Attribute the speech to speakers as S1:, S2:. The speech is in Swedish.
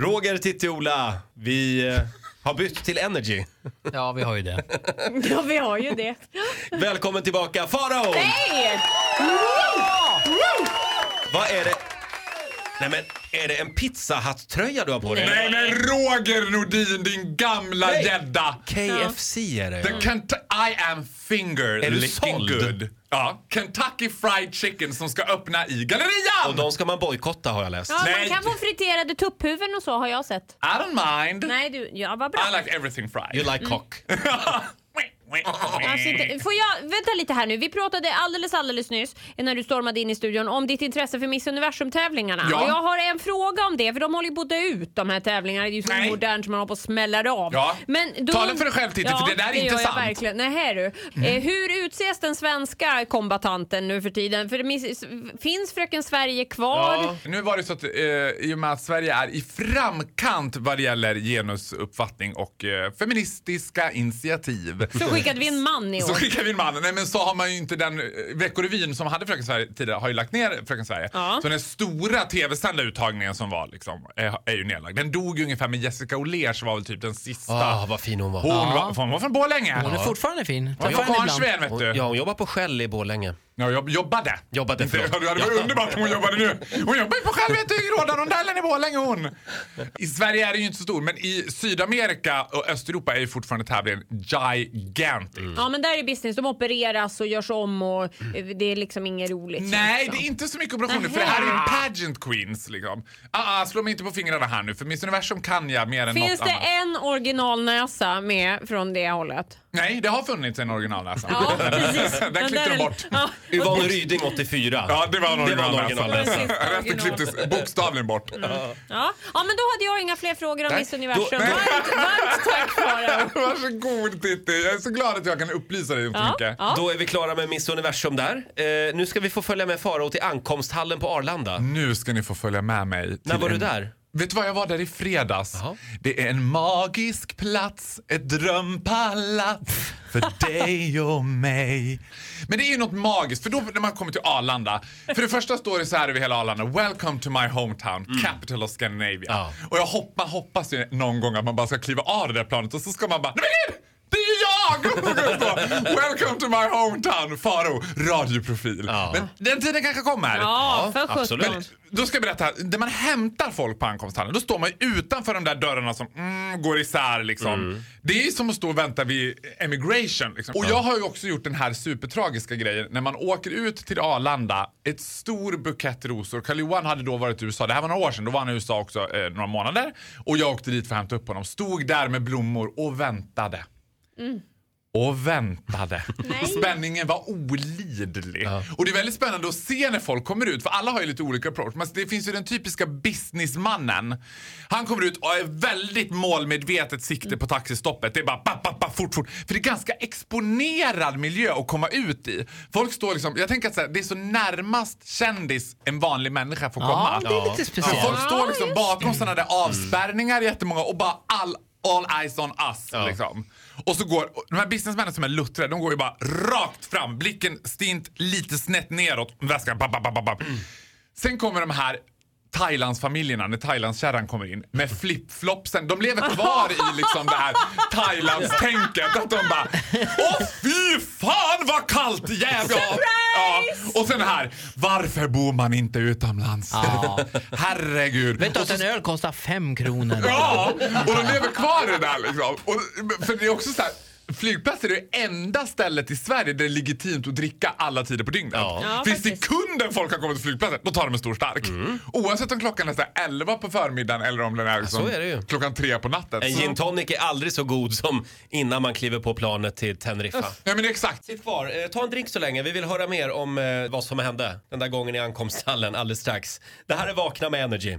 S1: Roger, Titti, Ola, vi eh, har bytt till Energy.
S2: Ja, vi har ju det.
S3: Ja, vi har ju det.
S1: Välkommen tillbaka, Farao!
S3: Hej!
S1: Vad är det? Nej men, är det en pizzahatt-tröja du har på dig?
S4: Nej men Roger Nordin din gamla
S1: Nej.
S4: gädda!
S1: KFC är det.
S4: The Kent- I am finger
S1: Är du
S4: licking
S1: såld?
S4: good. Ja, Kentucky Fried Chicken som ska öppna i Gallerian!
S1: Och de ska man bojkotta har jag läst.
S3: Ja, man
S4: Nej.
S3: kan få friterade tupphuvuden och så har jag sett.
S4: I don't mind.
S3: Nej, du, ja vad bra.
S4: I like everything fried.
S1: You like cock.
S3: Alltså inte, får jag, vänta lite här nu. Vi pratade alldeles alldeles nyss när du stormade in i studion om ditt intresse för Miss Universum-tävlingarna.
S4: Ja.
S3: Och jag har en fråga om det, för de håller ju både ut de här tävlingarna. Det är ju så
S4: Nej.
S3: modernt som man håller på och smäller av.
S4: Ja.
S3: Men då,
S4: Tala för dig själv, Titti, för det där är Mm.
S3: det
S4: inte
S3: gör jag
S4: sant.
S3: verkligen. Nej, här du. Eh, hur utses den svenska kombatanten nu för tiden? För Miss, finns Fröken Sverige kvar?
S4: Ja. Nu var det så att eh, i och med att Sverige är i framkant vad det gäller genusuppfattning och eh, feministiska initiativ.
S3: Så skickade vi en man i
S4: Så
S3: år.
S4: skickar vi in mannen. Nej men så har man ju inte den eh, Veckorevyn som hade Fröken Sverige tidigare har ju lagt ner Fröken Sverige.
S3: Ja.
S4: Så den stora tv-sända uttagningen som var liksom är, är ju nedlagd. Den dog ju ungefär med Jessica Olers var väl typ den sista.
S1: Ah, vad fin hon var.
S4: Hon,
S1: Ja.
S4: var, hon var från Borlänge.
S2: Hon är fortfarande fin.
S4: Hon
S2: Träffar
S4: var
S2: henne ibland.
S4: karlsven vet
S1: Hon,
S4: du.
S1: ja, hon jobbar på Shell i Borlänge.
S4: Ja, jag jobbade.
S1: Jobbade,
S4: Inte-
S1: förlåt.
S4: ja, det hade varit
S1: Ja.
S4: underbart om hon jobbade nu. Hon jobbar ju på Självete i Rådarondellen i Borlänge hon. I Sverige är den ju inte så stor, men i Sydamerika och Östeuropa är ju fortfarande tävlingen gigantic.
S3: Ja men där är business, de opereras och görs om och eh, det är liksom inget roligt. känns
S4: Nej, det
S3: som.
S4: är inte så mycket operationer för det här är ju en pageant queens liksom. Ah, ah, slå mig inte på fingrarna här nu för Miss Universum kan jag mer än
S3: Finns
S4: något
S3: det
S4: annat.
S3: en originalnäsa med från det hållet?
S4: Nej, det har funnits en originalnäsa.
S3: Ja, precis.
S4: Den
S3: Men
S4: klippte
S3: där
S4: de
S3: är-
S4: bort.
S3: Ja.
S1: Yvonne Ryding 84.
S4: Ja, det var en originalnäsa.
S3: originalnäsa.
S4: Resten klipptes bokstavligen bort.
S3: Mm. Ja. ja, men då hade jag inga fler frågor om
S1: Nej,
S3: Miss Universum.
S1: då-
S3: varmt, varmt tack Farao.
S4: Varsågod Titti, jag är så glad att jag kan upplysa dig om så
S3: Ja,
S4: mycket.
S3: ja.
S1: Då är vi klara med Miss Universum där. Eh, nu ska vi få följa med Farao till ankomsthallen på Arlanda.
S4: Nu ska ni få följa med mig. till
S1: När var
S4: en...
S1: du där?
S4: Vet du vad, jag var där i fredags.
S1: Jaha.
S4: Det är en magisk plats, ett drömpalats för dig och mig. Men det är ju något magiskt, för då när man kommer till Arlanda. För det första står det så här över hela Arlanda. Welcome to my hometown, capital of Scandinavia.
S1: Mm. Ja.
S4: Och jag hoppa, hoppas ju någon gång att man bara ska kliva av det där planet och så ska man bara, nej men gud! Det är jag! Och så står det, Welcome to my hometown, Faro, radioprofil.
S1: Ja.
S4: Men den tiden kanske kommer.
S3: Ja, för
S1: absolut.
S3: sjutton.
S4: Men då ska jag berätta, när man hämtar folk på ankomsthallen då står man ju utanför de där dörrarna som mm, går isär liksom. Det är ju som att stå och vänta vid emigration. Liksom. Och jag har ju också gjort den här supertragiska grejen när man åker ut till Arlanda, ett stor bukett rosor. Karl Johan hade då varit i USA, det här var några år sedan, då var han i USA också eh, några månader. Och jag åkte dit för att hämta upp honom, stod där med blommor och väntade. Och väntade. Och spänningen var olidlig. Och det är väldigt spännande att se när folk kommer ut, för alla har ju lite olika approach. Men det finns ju den typiska businessmannen. Han kommer ut och är väldigt målmedvetet sikte på taxistoppet. Det är bara papp, papp, papp, fort, fort. För det är ganska exponerad miljö att komma ut i. Folk står liksom, jag tänker att så här, det är så närmast kändis en vanlig människa får komma.
S2: Ja, det är lite
S4: För
S2: speciellt.
S4: folk står liksom bakom sådana där avspärrningar jättemånga och bara all, all eyes on us.
S1: Ja.
S4: Liksom. Och så går, och de här businessmännen som är luttrade, de går ju bara rakt fram. Blicken stint, lite snett neråt. Väskan, papp, papp, papp, papp. Sen kommer de här Thailandsfamiljerna, när Thailandskärran kommer in med flipflopsen. De lever kvar i liksom det här Thailandstänket. Att de bara Åh fy fan vad kallt! Jävlar! Ja. Och sen det här, varför bor man inte utomlands? Herregud.
S2: Vet du
S4: Och
S2: att en öl kostar fem kronor?
S4: Ja, och de lever kvar i det där liksom. Och, för det är också så här, flygplatser är det enda stället i Sverige där det är legitimt att dricka alla tider på dygnet.
S1: Ja. Mm.
S3: Ja,
S4: Finns
S3: faktiskt.
S4: det kunden folk har kommit till flygplatsen, då tar de en stor stark. Oavsett om klockan är så här 11 på förmiddagen eller om den är, liksom
S1: så är det ju.
S4: klockan 3 på natten.
S1: En
S4: Så-
S1: gin tonic är aldrig så god som innan man kliver på planet till Teneriffa.
S4: Ja men exakt.
S1: Sitt kvar, eh, ta en drink så länge. Vi vill höra mer om eh, vad som hände den där gången i ankomsthallen alldeles strax. Det här är Vakna med Energy.